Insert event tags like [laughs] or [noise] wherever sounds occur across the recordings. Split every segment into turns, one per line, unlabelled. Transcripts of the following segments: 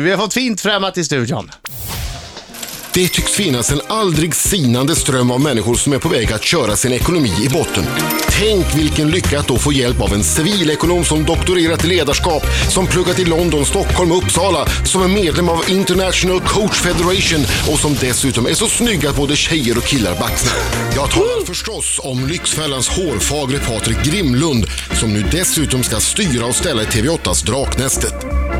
Vi har fått fint främmat i studion.
Det tycks finnas en aldrig sinande ström av människor som är på väg att köra sin ekonomi i botten. Tänk vilken lycka att då få hjälp av en civilekonom som doktorerat i ledarskap, som pluggat i London, Stockholm och Uppsala, som är medlem av International Coach Federation och som dessutom är så snygg att både tjejer och killar baxnar. Jag talar förstås om Lyxfällans hårfagre Patrik Grimlund som nu dessutom ska styra och ställa i TV8s Draknästet.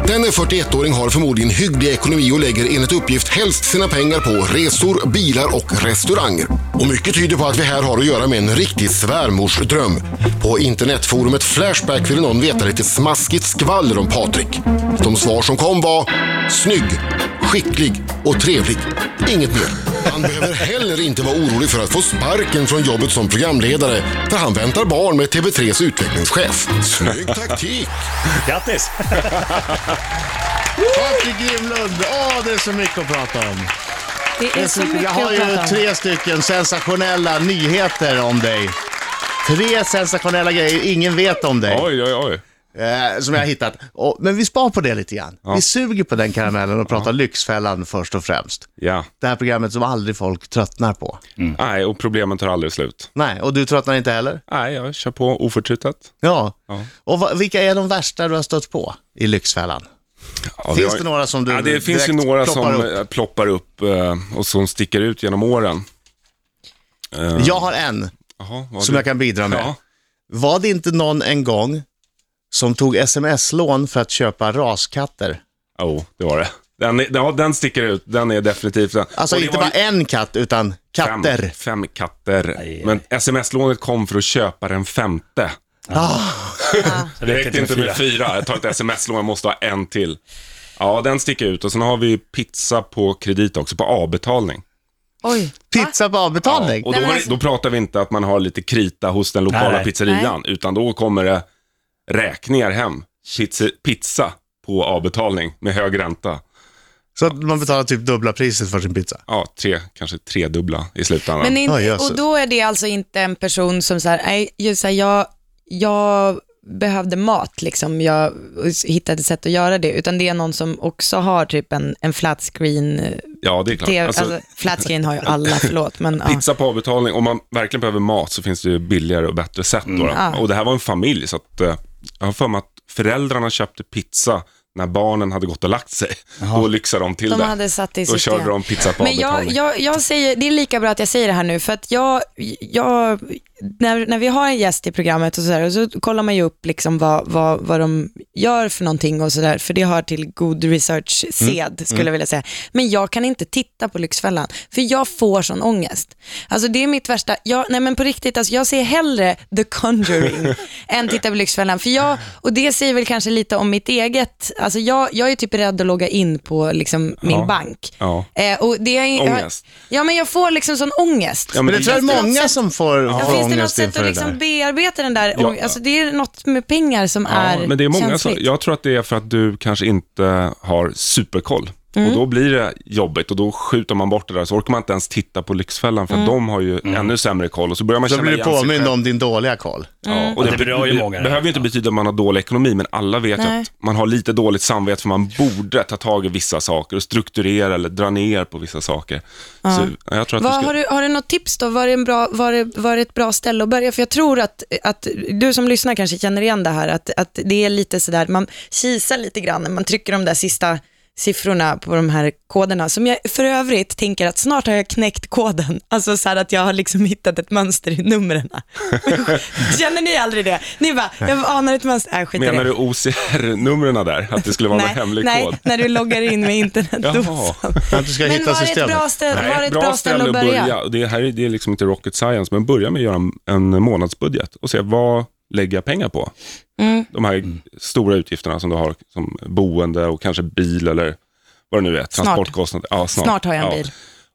Denne 41-åring har förmodligen hygglig ekonomi och lägger enligt uppgift helst sina pengar på resor, bilar och restauranger. Och mycket tyder på att vi här har att göra med en riktig svärmorsdröm. På internetforumet Flashback ville någon veta lite smaskigt skvaller om Patrik. De svar som kom var snygg, skicklig och trevlig. Inget mer. Han behöver heller inte vara orolig för att få sparken från jobbet som programledare, för han väntar barn med TV3s utvecklingschef. Snygg taktik!
Grattis!
[laughs] Patrik Grimlund, åh det är så mycket att prata om.
Det är,
Det är
så
så mycket.
mycket
Jag har
att prata
ju
om.
tre stycken sensationella nyheter om dig. Tre sensationella grejer ingen vet om dig,
Oj, oj, oj.
eh, som jag har hittat. Och, men vi spar på det lite grann. Vi suger på den karamellen och pratar Lyxfällan först och främst.
Ja.
Det här programmet som aldrig folk tröttnar på.
Nej, och problemen tar aldrig slut.
Nej, och du tröttnar inte heller?
Nej, jag kör på oförtrutet.
Ja.
Ja.
Och va, vilka är de värsta du har stött på i Lyxfällan?
Ja,
Finns
har-
det några som du
ja, det
direkt
finns ju några
ploppar
som
upp?
eh, ploppar upp eh, och som sticker ut genom åren.
Jag har en
Jaha, vad
som
eh, du-
jag kan bidra med.
Ja.
Var det inte någon en gång som tog sms-lån för att köpa raskatter?
Jo, det var det. Den, är, ja, den sticker ut. Den är definitivt den.
Alltså
Och det
inte
var
bara
ju
en katt, utan katter.
Fem, fem katter. Men sms-lånet kom för att köpa den femte.
Ah.
Så
Det räckte inte med fyra. Jag tar ett sms-lån, jag måste ha en till. Ja, den sticker ut. Och sen har vi ju pizza på kredit också, på avbetalning.
Oj, va?
Pizza på avbetalning.
Och då,
Nej, men
var det-
alltså-
då pratar vi inte att man har lite krita hos den lokala
Nej.
pizzerian, utan då kommer det räkningar hem. Pizza, pizza på avbetalning med hög ränta.
Så att man betalar typ dubbla priset för sin pizza.
Ja, tre, kanske tredubbla i slutändan.
Men in,
Ja, jösses.
och då är det alltså inte en person som så här, nej, just så här, jag, jag behövde mat, liksom. jag hittade ett sätt att göra det, utan det är någon som också har typ en, en flat screen, eh,
ja, det är klart.
TV,
Alltså,
alltså, flat screen har ju alla, förlåt, men
[laughs]
ja.
Pizza på avbetalning, om man verkligen behöver mat så finns det ju billigare och bättre sätt. Då,
Mm, Ja.
Och det här var en familj, så att, eh, jag har för mig att föräldrarna köpte pizza när barnen hade gått och lagt sig. Då lyxade de till
De
det.
hade satt i
Då
system.
körde de pizza på
Men jag,
avbetalning.
jag, jag säger, det är lika bra att jag säger det här nu, för att jag, jag när, när vi har en gäst i programmet och så, där, och så kollar man ju upp liksom vad, vad, vad de gör för någonting och sådär, för det hör till god
Mm.
research-sed, skulle jag vilja säga. Men jag kan inte titta på Lyxfällan, för jag får sån ångest. Alltså det är mitt värsta, jag, nej men på riktigt, alltså, jag ser hellre The
[laughs]
Conjuring än titta på Lyxfällan, för jag, och det säger väl kanske lite om mitt eget, alltså jag, jag är typ rädd att logga in på liksom min
Ja.
bank.
Ja.
Eh, och det är,
Ångest.
Ja, men jag får liksom sån ångest.
Ja, men
Men det
det-
tror jag är många som får
Ja,
ja,
finns det något
ångest
sätt
inför
att
det
liksom
där.
bearbeta den där
Ja.
ång- Alltså Det är något med pengar som
Ja,
är
men det är många som,
känsligt.
Jag tror att det är för att du kanske inte har superkoll.
Mm.
Och då blir det jobbigt och då skjuter man bort det där. Så orkar man inte ens titta på Lyxfällan för att
Mm.
de har ju ännu sämre koll. Och så börjar man
Då
känna
blir du
igen sig
påmind
själv.
om din dåliga koll.
Mm.
Ja, och det,
det berör ju
be-
många.
behöver ju inte betyda att man har dålig ekonomi, men alla vet
Nej.
att man har lite dåligt samvete för man borde ta tag i vissa saker och strukturera eller dra ner på vissa saker. Så, ja, jag tror att
Vad,
du ska...
har, du, har du något tips då? Var det, en bra, var, det, var det ett bra ställe att börja? För jag tror att, att du som lyssnar kanske känner igen det här, att, att det är lite sådär, man kisar lite grann när man trycker de där sista siffrorna på de här koderna, som jag för övrigt tänker att snart har jag knäckt koden. Alltså så här att jag har liksom hittat ett mönster i
[laughs]
numren. Känner ni aldrig det? Ni bara, jag anar ett mönster. Äh, skit i det.
Menar du OCR-numren där? Att det skulle vara någon hemlig
nej,
kod?
när du loggar in med internetdosan.
Jaha.
Att du ska
Men
hitta
var det ett
systemet.
bra ställe, var det ett
bra, ställe att börja. Det här är, det är liksom inte rocket science, men börja med att göra en, en månadsbudget och se vad lägger jag pengar på?
Mm.
De här stora utgifterna som du har, som boende och kanske bil eller vad det nu är, transportkostnader. Ja, snart.
Snart har jag en
Ja.
bil.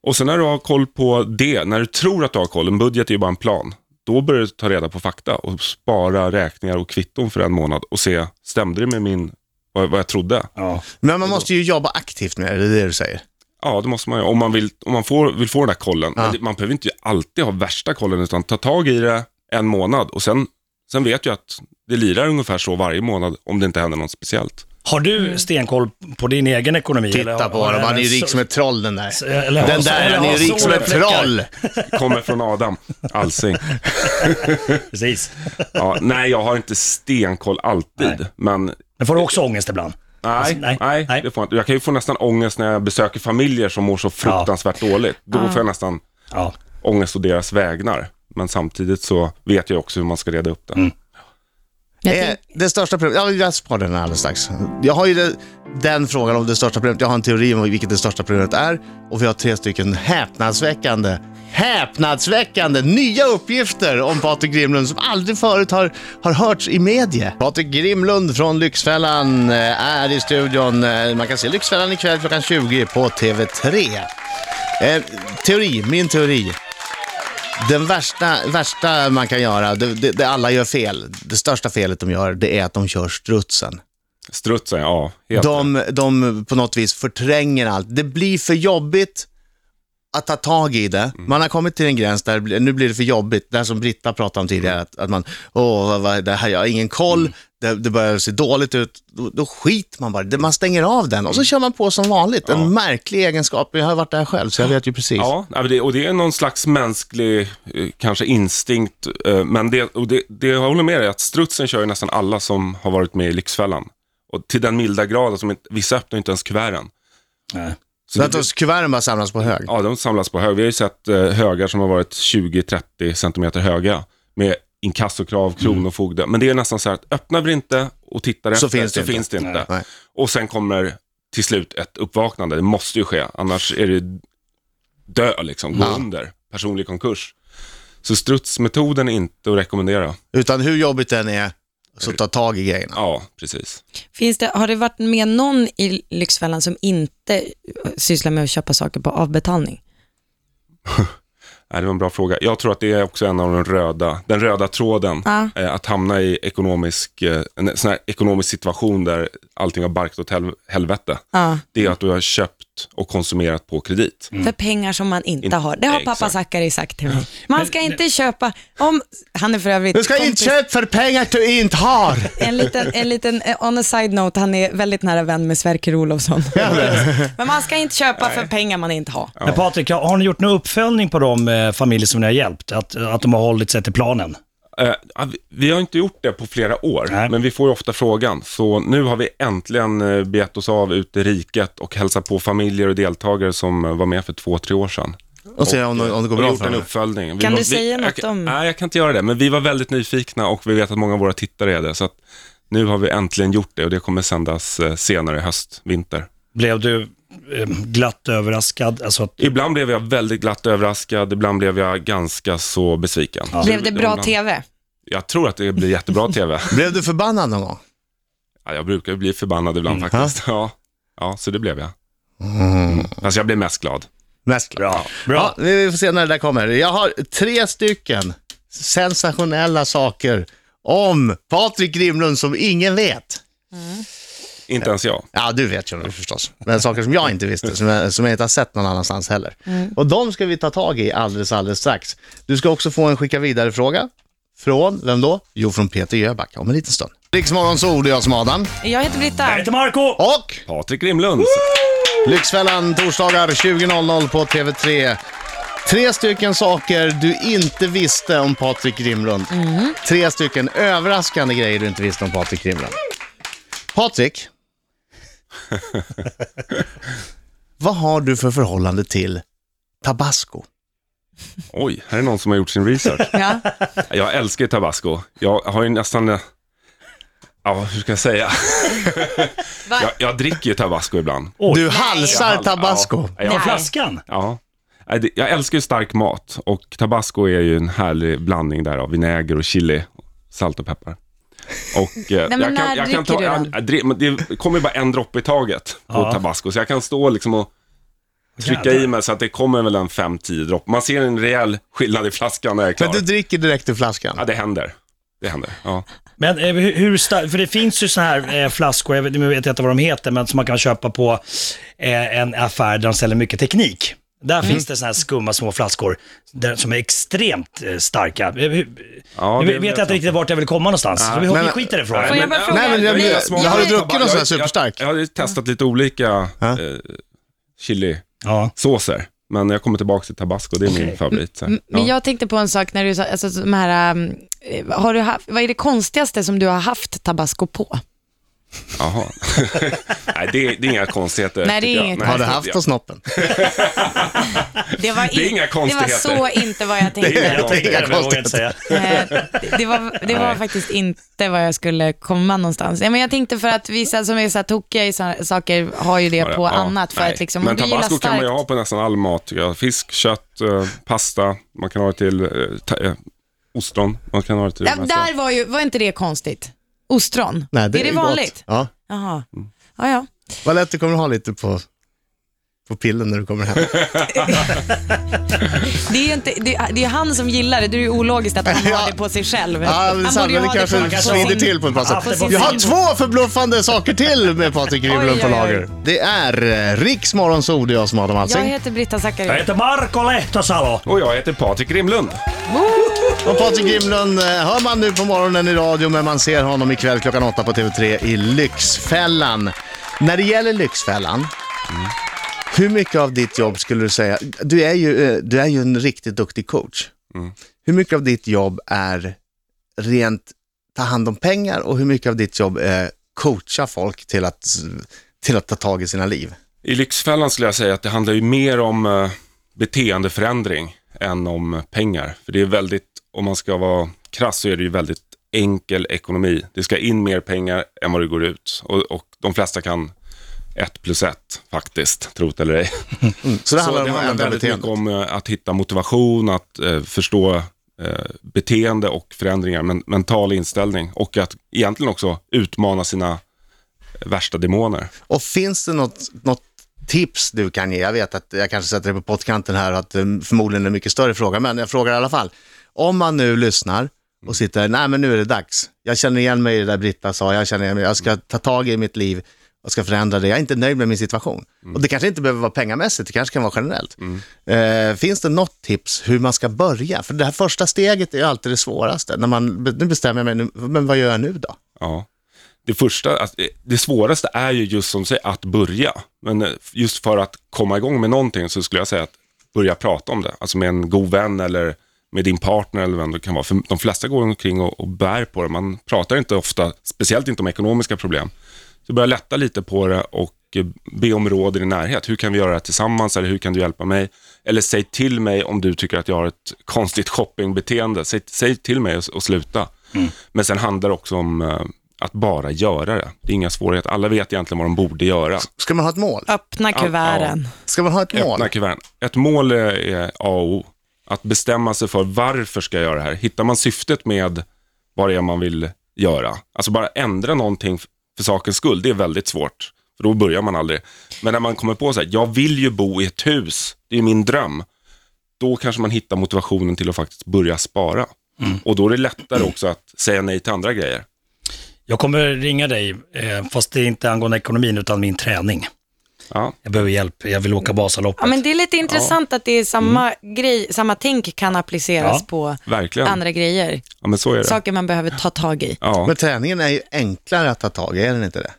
Och sen när du har koll på det, när du tror att du har koll, en budget är ju bara en plan, då börjar du ta reda på fakta och spara räkningar och kvitton för en månad och se, stämde det med min, vad, vad jag trodde?
Ja.
Men man måste ju jobba aktivt med det, det är det du säger.
Ja, det måste man ju. Om man vill, om man får, vill få den där kollen.
Ja.
Men det- Man behöver inte alltid ha värsta kollen, utan ta tag i det en månad och sen, sen vet jag att det lirar ungefär så varje månad om det inte händer något speciellt.
Har du
Mm.
stenkoll på din egen ekonomi? eller
Titta
har-
på
har
honom,
den
han är ju
en
rik
sol-
som ett troll den där.
Så- eller har-
Den där,
eller
han är
har
ju rik som ett
solfläckar.
troll.
Kommer från Adam Alsing.
Precis.
Ja, nej, jag har inte stenkoll alltid, men
Men får du också ångest ibland?
Nej,
Alltså, nej,
nej,
nej.
Det får jag, inte. jag kan ju få nästan ångest när jag besöker familjer som mår så fruktansvärt dåligt. Då får jag nästan
Ja.
ångest å deras vägnar. Men samtidigt så vet jag också hur man ska reda upp det.
Jag
Eh,
tänk-
det största problemet, ja, jag sparar den här alldeles strax. Jag har ju det, den frågan om det största problemet, jag har en teori om vilket det största problemet är och vi har tre stycken häpnadsväckande, häpnadsväckande nya uppgifter om Patrik Grimlund som aldrig förut har, har hörts i media. Patrik Grimlund från Lyxfällan eh, är i studion. Eh, Man kan se Lyxfällan ikväll klockan 20 på TV3. Eh, teori, min teori. Den värsta, värsta man kan göra, det, det, det alla gör fel, det största felet de gör, det är att de kör strutsen.
Strutsen, ja. Helt
De, de på något vis förtränger allt. Det blir för jobbigt att ta tag i det.
Mm.
Man har kommit till en gräns där det blir- nu blir det för jobbigt. Det här som Britta pratade om
Mm.
tidigare, att, att man, åh, vad, vad, det här, jag har ingen koll, det, det börjar se dåligt ut. Då, då skiter man bara, Det- man stänger av den och så
Mm.
kör man på som vanligt. En märklig egenskap, jag har varit där själv så jag vet ju precis.
Ja, nej, men det- och det är någon slags mänsklig eh, kanske instinkt. eh, Men det, och det, det jag håller med dig att strutsen kör ju nästan alla som har varit med i Lyxfällan. Och till den milda grad att de inte- vissa öppnar ju inte ens kuverten.
Nej.
Så
Så att
det,
de- kuverten bara samlas på hög.
ja, de samlas på hög. Vi har ju sett eh, högar som har varit 20-30 centimeter höga med inkassokrav,
Mm.
kronofogde. Men det är nästan så här att öppnar vi inte och tittar efter
finns det
så
inte.
finns det inte.
Nej.
Nej.
Och sen kommer till slut ett uppvaknande. Det måste ju ske, annars är det dö liksom, gå
Ja.
under, personlig konkurs. Så strutsmetoden är inte att rekommendera.
Utan hur jobbigt den är, så ta tag i grejerna.
Ja, precis.
Finns det, har det varit med någon i Lyxfällan som inte eh, sysslar med att köpa saker på avbetalning?
Nej, det var en bra fråga. Jag tror att det är också en av de röda, den röda tråden.
Ja.
Eh, att hamna i ekonomisk, eh, en sån här ekonomisk situation där allting har barkat åt hel- helvete.
Ja.
Det är att du har köpt och konsumerat på kredit.
För pengar som man inte
Mm. Inte-
har. Det har pappa
exakt. Mm.
Zackari sagt till mig. Man ska inte köpa, om, han är för övrigt
Du ska inte
kompis-
köpa för pengar du inte har.
En liten, en liten, eh, on a side note, han är väldigt nära vän med Sverker Olofsson. [laughs] Men man ska inte köpa för pengar man inte har.
Men Patrik, har har ni gjort någon uppföljning på de eh, familjer som ni har hjälpt? Att, att de har hållit sig till planen?
Eh, ja, vi- vi har inte gjort det på flera år,
Nej.
men vi får ju ofta frågan. Så nu har vi äntligen eh, begett oss av ute i riket och hälsat på familjer och deltagare som eh, var med för två, tre år sedan.
Och se om, det- om det går
Vi har
bra
gjort
för
en
dem.
uppföljning. Vi
Kan
var,
du säga
vi,
något
jag,
om-
Nej, jag kan inte göra det, men vi var väldigt nyfikna och vi vet att många av våra tittare är det. Så att nu har vi äntligen gjort det och det kommer sändas eh, senare i höst, vinter.
Blev du eh, glatt överraskad? Alltså, att-
Ibland blev jag väldigt glatt överraskad, ibland blev jag ganska så besviken. Så
Blev det bra
ibland-
tv?
Jag tror att det blir jättebra tv. [laughs]
Blev du förbannad någon gång?
Ja, jag brukar ju bli förbannad ibland
Mm.
faktiskt. Ja. ja, så det blev jag. Fast jag blev mest glad.
Mest
bra.
Ja,
bra.
vi vi får se när det där kommer. Jag har tre stycken sensationella saker om Patrik Grimlund som ingen vet.
Inte ens jag.
Ja, du vet ju nu förstås. Men saker som jag inte visste, som jag, som jag inte har sett någon annanstans heller. Och de ska vi ta tag i alldeles, alldeles strax. Du ska också få en skicka vidare-fråga. Från, vem då? Jo, från Peter Jöback, om en liten stund. Riksmorgons ord, det är jag som är Adam.
Jag heter Britta.
Jag heter Marco!
Och
Patrik Grimlund.
Lyxfällan torsdagar 20.00 på TV3. Tre stycken saker du inte visste om Patrik Grimlund. Tre stycken överraskande grejer du inte visste om Patrik Grimlund. Patrik, vad har du för förhållande till tabasco?
Oj, här är någon som har gjort sin research. [laughs]
Ja.
Jag älskar ju tabasco. Jag har ju nästan... eh, Ja, hur ska
[laughs]
jag säga?
Va?
Jag, jag dricker ju tabasco ibland.
Oj.
Du halsar tabasco.
Ja, jag,
Flaskan?
ja. Nej, det- jag älskar ju stark mat och tabasco är ju en härlig blandning där av vinäger och chili, salt och peppar.
[laughs]
Och, eh, Nej,
men när dricker du den?
Det kommer ju bara en droppe i taget på
Ja.
tabasco, så jag kan stå liksom och trycka i
Jävlar.
mig så att det kommer väl en 5-10 droppar. Man ser en rejäl skillnad i flaskan när jag är klar.
Men du dricker direkt ur flaskan.
Ja, det händer. Det händer, ja.
Men eh, hur, hur star- för det finns ju såna här eh, flaskor, jag vet, nu vet jag inte vad de heter, men som man kan köpa på eh, en affär där de säljer mycket teknik. Där finns det såna här skumma små flaskor där, som är extremt eh, starka. Eh, hur-
Ja,
nu
det
vet jag
vet
inte
jag
riktigt vart jag vill komma någonstans. Så vi,
Men-
vi skiter i det frågan.
Får jag
men-
bara fråga?
nej, men jag-
blir-
jag-
blir-
jag har
blir-
du druckit någon sån här superstark?
Jag, jag, har ju testat lite olika
Ja.
eh, chilisåser,
Ja.
men jag kommer tillbaka till tabasco, det är min favorit. Så. här.
M- Men
Ja.
jag tänkte på en sak när du sa, alltså de här, um, eh, har du haft, vad är det konstigaste som du har haft tabasco på?
Jaha. [laughs] Nej, det, är- det är inga konstigheter.
Nej, det är
tycker jag.
inget
Nej,
Har du
det-
haft på snoppen?
Det var,
Det är inga
Det var
konstigheter.
så inte vad jag
Det är
tänkte.
inga-
Jag tänkte
inga
det, men jag vågar
konstigheter.
inte säga.
Eh, det- det var, det var
Nej.
faktiskt inte vad jag skulle komma någonstans. Ja, men jag tänkte för att vissa som är så här tokiga i såna saker har ju det på
Ja,
annat. För
nej.
att liksom,
Men
och vi gillar
tabasco kan man ju
starkt-
ha på nästan all mat. tycker jag. Fisk, kött, eh, pasta, man kan ha det till eh, ta, eh, ostron, man kan ha det till det
Ja,
mesta.
där var ju, var inte det konstigt? Ostron?
Nej, det är,
är det
ju gott.
vanligt?
Ja.
Jaha. Ja, ja.
Vad lätt du kommer ha lite på, på pillen när du kommer hem.
Det är ju inte, det, är- det är han som gillar det, det är ju ologiskt
[laughs]
att han har det på sig själv.
Ja, men samhället kanske
kanske
svider
sin-
till på ett par
Ja,
sätt.
precis.
Jag har två förbluffande saker till med Patrik Rymlund på
Oj, oj, oj.
lager. Det är eh, Riks Morgonzoo, det är jag som alltså. Adam
Jag
Alsing.
heter Britta
Jag
Zackari.
heter Marko Lehtosalo.
Och jag heter Patrik Rimlund.
Och Patrik Grimlund eh, hör man nu på morgonen i radio men man ser honom ikväll klockan åtta på TV3 i Lyxfällan. När det gäller Lyxfällan, hur mycket av ditt jobb skulle du säga, du är ju, eh, du är ju en riktigt duktig coach. Hur mycket av ditt jobb är rent ta hand om pengar och hur mycket av ditt jobb är coacha folk till att, till att ta tag i sina liv?
I Lyxfällan skulle jag säga att det handlar ju mer om eh, beteendeförändring än om eh, pengar. För det är väldigt, om man ska vara krass, så är det ju väldigt enkel ekonomi. Det ska in mer pengar än vad det går ut. Och, och de flesta kan ett plus ett faktiskt, trot eller ej.
Så det
Så
handlar om att ändra
väldigt mycket
beteendet.
om eh, att hitta motivation, att eh, förstå eh, beteende och förändringar, men, mental inställning och att egentligen också utmana sina värsta demoner.
Och finns det något, något tips du kan ge? Jag vet att jag kanske sätter det på pottkanten här och att eh, förmodligen är en mycket större fråga, men jag frågar i alla fall. Om man nu lyssnar och sitter, nej men nu är det dags. Jag känner igen mig i det där Britta sa, jag känner igen mig, jag ska ta tag i mitt liv och ska förändra det. Jag är inte nöjd med min situation. Och det kanske inte behöver vara pengamässigt, det kanske kan vara generellt. Eh, finns det något tips hur man ska börja? För det här första steget är ju alltid det svåraste. När man, nu bestämmer jag mig, nu, men vad gör jag nu då?
Ja. Det, första, att- det svåraste är ju just som du säger, att börja. Men eh, just för att komma igång med någonting så skulle jag säga att börja prata om det. Alltså med en god vän eller med din partner eller vem det kan vara. För de flesta går omkring och, och bär på det. Man pratar inte ofta, speciellt inte om ekonomiska problem. Så börja lätta lite på det och eh, be om råd i din närhet. Hur kan vi göra det här tillsammans eller hur kan du hjälpa mig? Eller säg till mig om du tycker att jag har ett konstigt shoppingbeteende. Säg, säg till mig och, och sluta. Men sen handlar det också om eh, att bara göra det. Det är inga svårigheter. Alla vet egentligen vad de borde göra.
Ska man ha ett mål?
Öppna kuverten.
Ska man ha ett mål?
Öppna kuverten. Ett mål är- är A och O. Att bestämma sig för varför ska jag göra det här? Hittar man syftet med vad det är man vill göra? Alltså bara ändra någonting f- för sakens skull, det är väldigt svårt. För då börjar man aldrig. Men när man kommer på så här, jag vill ju bo i ett hus, det är ju min dröm. Då kanske man hittar motivationen till att faktiskt börja spara.
Mm.
Och då är det lättare också att säga nej till andra grejer.
Jag kommer ringa dig, eh, fast det är inte angående ekonomin utan min träning.
Ja.
Jag behöver hjälp, jag vill åka Vasaloppet.
Ja, men det är lite intressant att det är samma grej, samma tänk kan appliceras
Ja,
på
Mm. Verkligen.
andra grejer.
Ja, men så är det.
Saker man behöver ta tag i.
Ja.
Men träningen är ju enklare att ta tag i, är den inte det?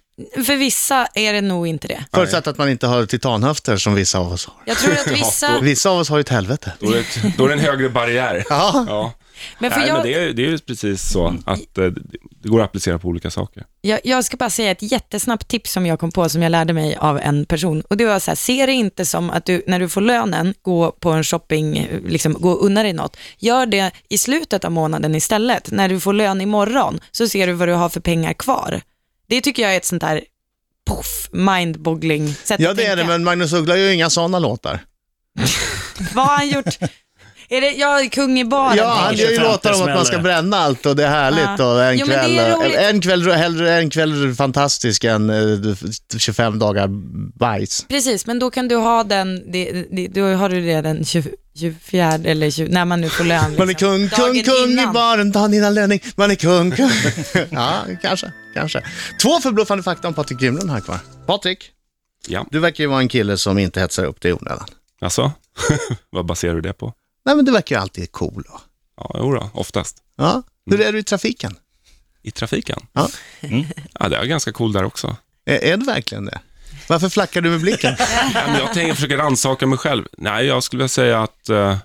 För vissa är det nog inte det.
Förutsatt att man inte har titanhöfter som vissa av oss har.
Jag tror
[laughs]
att vissa...
Vissa av oss har ju ett helvete.
Då är det, ett, då är det en
[laughs]
högre barriär.
Ja.
Men för
Nej, men
jag,
det, är, det är ju precis så att eh, det- det går att applicera på olika saker.
jag, jag ska bara säga ett jättesnabbt tips som jag kom på som jag lärde mig av en person. Och det var så här, se det inte som att du, när du får lönen, gå på en shopping, liksom gå och unna dig något. Gör det i slutet av månaden istället. När du får lön imorgon så ser du vad du har för pengar kvar. Det tycker jag är ett sånt där poff, mindboggling sätt
ja,
att
det är det,
tänka.
men Magnus Uggla gör ju inga sådana låtar.
Vad har
[laughs]
han gjort? Är det, jag är kung i baren.
Ja, han
tänker
gör ju
jag.
25
låtar om att man ska
smäller.
bränna allt och det är härligt
Ja.
och en
Jo, men det
kväll,
är roligt.
en kväll, hellre en kväll fantastisk än eh, 25 dagar bajs.
Precis, men då kan du ha den, det, det, då har du det den 20 24 eller 20, när man nu får lön.
Man är
liksom.
kung,
Dagen
kung, kung
innan.
i baren, dagen innan löning. Man är kung, kung. [laughs] ja, kanske, kanske. Två förbluffande fakta om Patrik Grimlund här kvar. Patrik,
Ja.
du verkar ju vara en kille som inte hetsar upp dig i onödan.
Alltså, [laughs] vad baserar du det på?
Nej, men du verkar ju alltid cool. Då.
Ja, jo då, oftast.
Ja. Hur är du i trafiken?
I trafiken? Mm.
Ja.
Ja, det är ganska cool där också.
Är, är du verkligen det? Varför flackar du med blicken?
Ja, men jag tänker försöka rannsaka mig själv. Nej, jag skulle vilja säga att eh,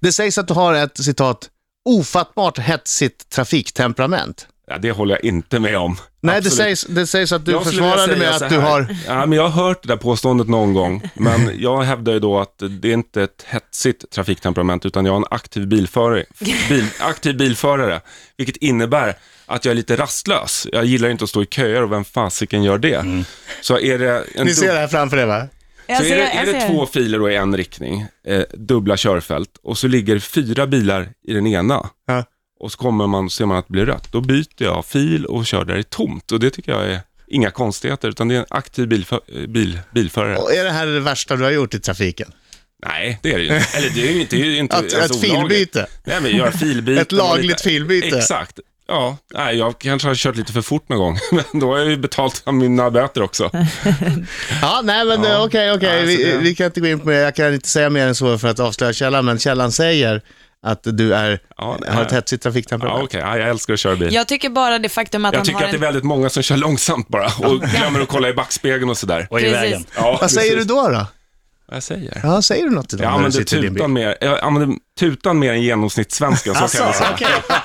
Det sägs att du har ett citat ofattbart hetsigt trafiktemperament.
ja, det håller jag inte med om.
Nej, det
Absolut.
sägs, det sägs att du
Jag skulle
försvarar
vilja
dig med
säga så
att du
här.
har...
Ja, men jag har hört det där påståendet någon gång,
[laughs]
men jag hävdar ju då att det är inte ett hetsigt trafiktemperament, utan jag är en aktiv bilförare, bil, aktiv bilförare vilket innebär att jag är lite rastlös. Jag gillar inte att stå i köer och vem fasiken gör det? Så är det, en
Mm. Ni ser det här framför er va?
så är det,
jag
är det
ser
två filer då i en riktning, eh, dubbla körfält, och så ligger fyra bilar i den ena.
Ja.
Och så kommer man ser man att det blir rött. Då byter jag fil och kör där det är tomt. Och det tycker jag är inga konstigheter, utan det är en aktiv bilfö- eh, bil, bilförare.
Och är det här det värsta du har gjort i trafiken?
Nej, det är det ju inte. Eller det är ju inte, det är ju inte
Att,
ens
ett
Alltså, olagligt.
filbyte?
Nej, men göra filbyte.
Ett lagligt
Lite-
filbyte.
Exakt. Ja, nej, jag kanske har kört lite för fort någon gång, [laughs] men då har jag ju betalt mina
[laughs]
böter också.
Ja, nej men eh,
Ja.
okej, okej.
Ja, så
vi,
det-
vi kan inte gå in på mer. Jag kan inte säga mer än så för att avslöja källan, men källan säger att du är,
Ja, det
har
är-
ett hetsigt
Ja,
trafiktemperament.
okej, ja, jag älskar att köra bil.
Jag tycker bara det faktum att
Jag
han
tycker
har
att det är
en...
väldigt många som kör långsamt bara och glömmer att kolla i backspegeln och sådär.
Och i
Precis.
vägen.
Ja,
Vad säger du
precis.
då? då?
Vad jag säger?
Ja, säger du något idag
Jag
när du
använder,
sitter i din bil?
tutan mer, jag använder tutan mer än genomsnittssvenskan, så kan jag
Alltså,
säga.
okej.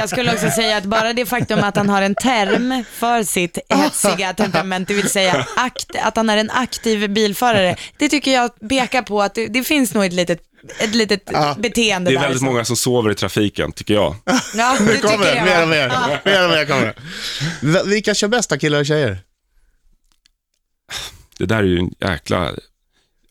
Jag skulle också säga att bara det faktum att han har en term för sitt hetsiga temperament, det vill säga akt, att han är en aktiv bilförare, det tycker jag pekar på att det, det finns nog ett litet, ett litet beteende
Det är
där. liksom.
väldigt många som sover i trafiken, tycker jag.
Ja,
Nu
det
kommer
tycker
det,
jag.
mer och mer.
Ja.
Mer och mer kommer det. V- Vilka kör bäst då, killar och tjejer?
Det där är ju en jäkla...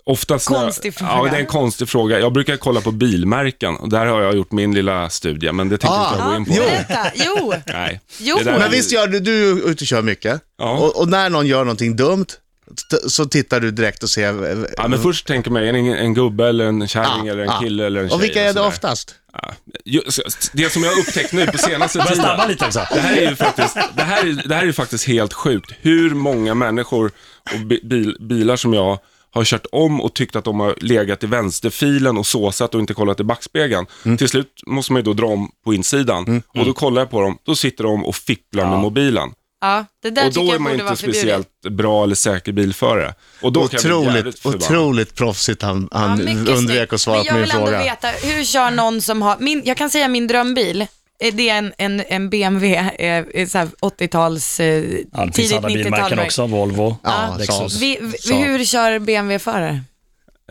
Oftast när-
Konstig fråga.
Ja, det är en konstig fråga. Jag brukar kolla på bilmärken och där har jag gjort min lilla studie, men det tänker
Ah,
inte jag
Ja,
gå in på.
Jo.
berätta. Jo.
Nej.
Jo.
Det där är
Men
ju-
visst gör du, du är ute och kör mycket.
Ja.
Och, och när någon gör någonting dumt t- så tittar du direkt och ser... eh,
Ja, men först tänker man, är det en, en gubbe eller en kärring
Ja,
eller en
ja.
kille eller en tjej?
Ah, Och vilka är det
sådär.
oftast?
Ja. Ju- så- Det som jag har upptäckt nu på senaste
Börjar
tiden.
stabba lite också.
Det här är ju faktiskt, det här är, det här är ju faktiskt helt sjukt. Hur många människor och bi- bil, bilar som jag har kört om och tyckt att de har legat i vänsterfilen och såsat och inte kollat i backspegeln.
Mm.
Till slut måste man ju då dra om på insidan och då kollar jag på dem, då sitter de och fipplar med mobilen.
Ja, Mm. det där
och
tycker
då är
jag
man
borde
inte
vara förbjudet.
speciellt bra eller säker bilförare. Och då kan jag bli jävligt
Otroligt,
förbannad.
otroligt proffsigt han,
Ja,
han
mycket snyggt.
undvek att svara
Men
på min
Jag vill ändå
fråga.
veta, hur kör någon som har, min, jag kan säga min drömbil, eh, det är en, en, en BMW, eh, eh, så här 80-tals, eh,
Ja, det finns
tidigt
alla bilmärken
90-tal.
också. Volvo,
Ja,
Lexus.
Saab.
Vi, vi,
Saab.
hur kör BMW-förare?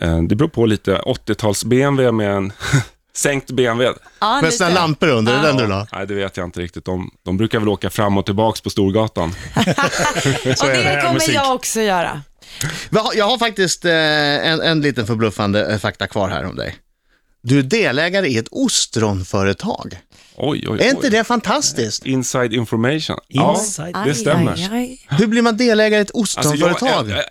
Eh, Det beror på lite. 80-tals-BMW med en [laughs] sänkt BMW.
Ja,
Med sina
lite.
lampor under, är det den du la?
Nej, det vet jag inte riktigt. De, de brukar väl åka fram och tillbaks på Storgatan.
Och det,
det.
kommer
Musik.
jag också göra.
Jag har- Jag har faktiskt eh, en, en liten förbluffande eh, fakta kvar här om dig. Du är delägare i ett ostronföretag.
Oj, oj, oj.
Är inte det fantastiskt?
Inside information.
Inside.
Ja, det stämmer.
Aj, aj, aj.
Hur blir man delägare i ett
Alltså, jag-
ostronföretag?
jag- jag-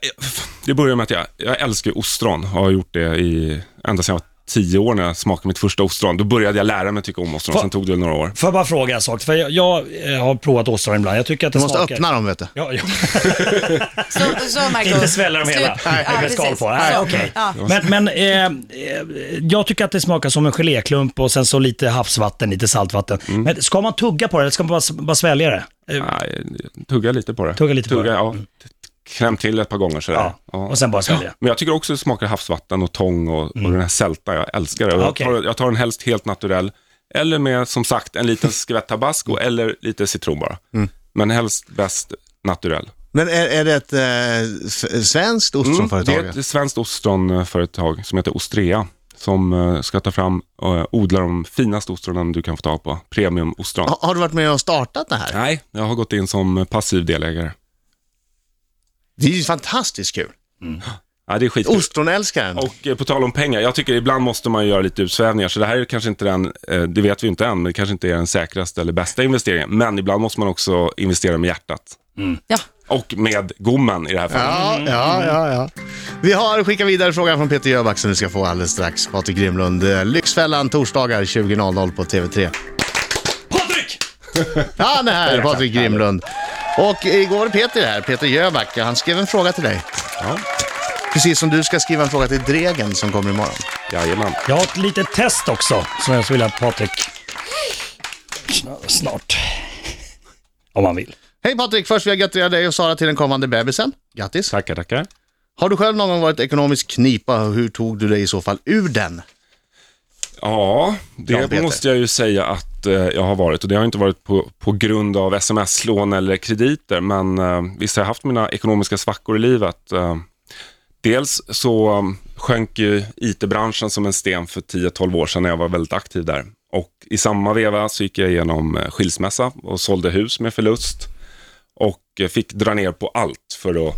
Det börjar med att jag, jag älskar ju ostron. Jag har gjort det i, ända sedan jag var tio år när jag smakade mitt första ostron. Då började jag lära mig tycka om ostron.
Fa-
Sen tog det väl några år.
Får jag bara fråga en sak? För jag, jag eh, har provat ostron ibland. Jag tycker att det
Du måste
smakar...
öppna dem vet du.
Ja, ja.
Så, så Marco.
[laughs] Inte svälja dem
Slut.
hela.
Ja,
Nej, med
precis.
skal på. Nej,
Så.
okej.
Ja.
Men, men eh, eh, jag tycker att det smakar som en geléklump och sen så lite havsvatten, lite saltvatten. Men ska man tugga på det eller ska man bara, s- bara svälja det? Eh,
Nej, tugga lite på det.
Tugga lite på det.
Ja. Kläm till ett par gånger sådär.
Ja, och sen bara svälja.
Men jag tycker också det smakar havsvatten och tång och, och den här sälta. Jag älskar det. Och
Okej.
Jag, tar, jag tar den helst helt naturell. Eller med, som sagt, en liten skvätt tabasco
Mm.
eller lite citron bara. Men helst bäst naturell.
Men är, är det ett eh, f- svenskt
Mm, det
ostronföretag?
är ett svenskt ostronföretag som heter Ostrea som eh, ska ta fram och odla de finaste ostronen du kan få tag på. Premiumostron.
Ha- Har du varit med och startat det här?
Nej, jag har gått in som passiv delägare.
Det är ju fantastiskt kul.
Ja, det är skit.
Ostronälskaren.
Och eh, på tal om pengar, jag tycker ibland måste man göra lite utsvävningar. Så det här är kanske inte den, eh, det vet vi inte än, men det kanske inte är den säkraste eller bästa investeringen. Men ibland måste man också investera med hjärtat.
Ja.
Och med gommen i det här fallet.
Ja, ja, ja, ja. Vi har skickat vidare frågan från Peter Jöback som du ska få alldeles strax. Patrik Grimlund, eh, Lyxfällan torsdagar 20.00 på TV3.
Patrik!
Han är här, Patrik Grimlund. Och igår var det Peter här, Peter Jöback. Han skrev en fråga till dig.
Ja.
Precis som du ska skriva en fråga till Dregen som kommer imorgon.
Jajamän.
Jag har ett litet test också som jag skulle vilja att Patrik... Sn- Snart. Om han vill.
Hej Patrik! Först vill jag gratulera dig och Sara till den kommande bebisen. Grattis!
Tackar, tackar.
Har du själv någon gång varit ekonomisk knipa och hur tog du dig i så fall ur den?
Ja, det
Ja, Peter.
måste jag ju säga att eh, jag har varit. Och det har inte varit på, på grund av sms-lån eller krediter, men eh, visst har jag haft mina ekonomiska svackor i livet. Eh, dels så um, sjönk ju it-branschen som en sten för 10-12 år sedan när jag var väldigt aktiv där. Och i samma veva så gick jag igenom eh, skilsmässa och sålde hus med förlust. Och eh, fick dra ner på allt för att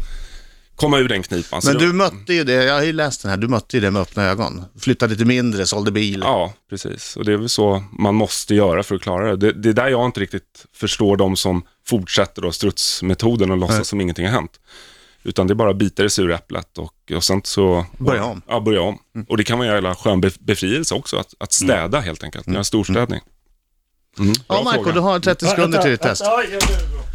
komma ur den knipan. Så
Men
det-
du mötte ju det, jag har ju läst den här, du mötte ju det med öppna ögon. Flyttade till mindre, sålde bil.
Ja, precis. Och det är väl så man måste göra för att klara det. Det, det är där jag inte riktigt förstår de som fortsätter då strutsmetoden och låtsas som ingenting har hänt. Utan det är bara bitar i sura äpplet och, och sen så...
Börja om.
Ja, börja om.
Mm.
Och det kan vara en jävla skön bef- befrielse också, att, att städa helt enkelt. Göra
Mm.
storstädning. Mm, bra
Ja, Marco,
fråga.
du har 30 sekunder till ditt test.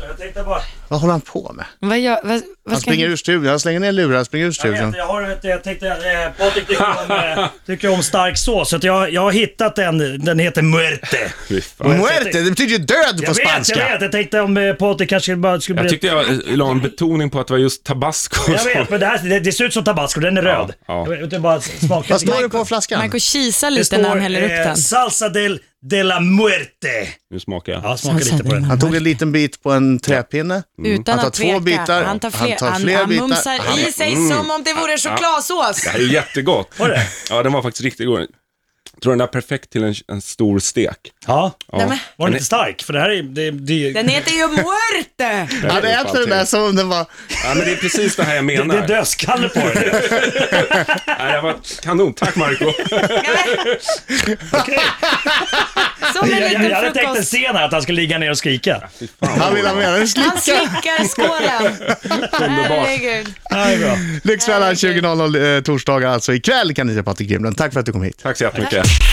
Jag tänkte bara...
Vad håller han på med?
Vad gör, vad,
Han
vad ska
springer ur studion, han slänger ner lurar, han springer ur
Jag, vet,
studion.
jag, har, ett- jag tänkte, eh, Patrik tycker om, eh, tycker om stark sås, så att jag, jag har hittat en, den heter muerte.
Fy fan.
Muerte, det betyder ju död på
Jag vet, jag
spanska!
vet, jag tänkte om eh, Patrik kanske bara skulle
Jag
bli...
tyckte jag eh, la en betoning på att det var just tabasco.
Jag vet, men det, här, det, det ser ut som tabasco, den är röd.
ja.
Jag vet inte, bara smaka
Vad står det på flaskan?
Marco kisar lite när han häller upp den.
eh, Salsa del, de la muerte.
Nu smakar jag.
Ja, smaka lite på den.
Han tog en liten bit på en träpinne.
Utan
Han tar
att
två
tveka.
bitar.
Han tar fler,
Han
han,
tar
han,
fler bitar.
mumsar
Han- Mm.
i sig som om det vore chokladsås.
Det här är ju jättegott.
Var det?
Ja, den var faktiskt riktigt god. Jag tror den är perfekt till en, en stor stek.
Ja.
Ja.
Nej, men,
Var den inte stark? För det här är... Det, det,
den heter ju muerte!
Den
Han
är ju
äter
fan
den där
till.
som om den var...
Ja, men det är precis det här jag
det,
menar.
det är dödskalle på den.
[laughs]
Nej, det var kanon. Tack, Marco.
Som en
Jag, jag, jag hade
liten
tänkt en
frukost.
scen här att han skulle ligga ner och skrika.
Han vill ha med en
Han
slicka.
slickar skålen. Herregud.
Ja, det är bra.
Lyxfällan 20.00 eh, torsdagar, alltså ikväll kan ni se Patrik Grimlund. Tack för att du kom hit.
Tack så jättemycket.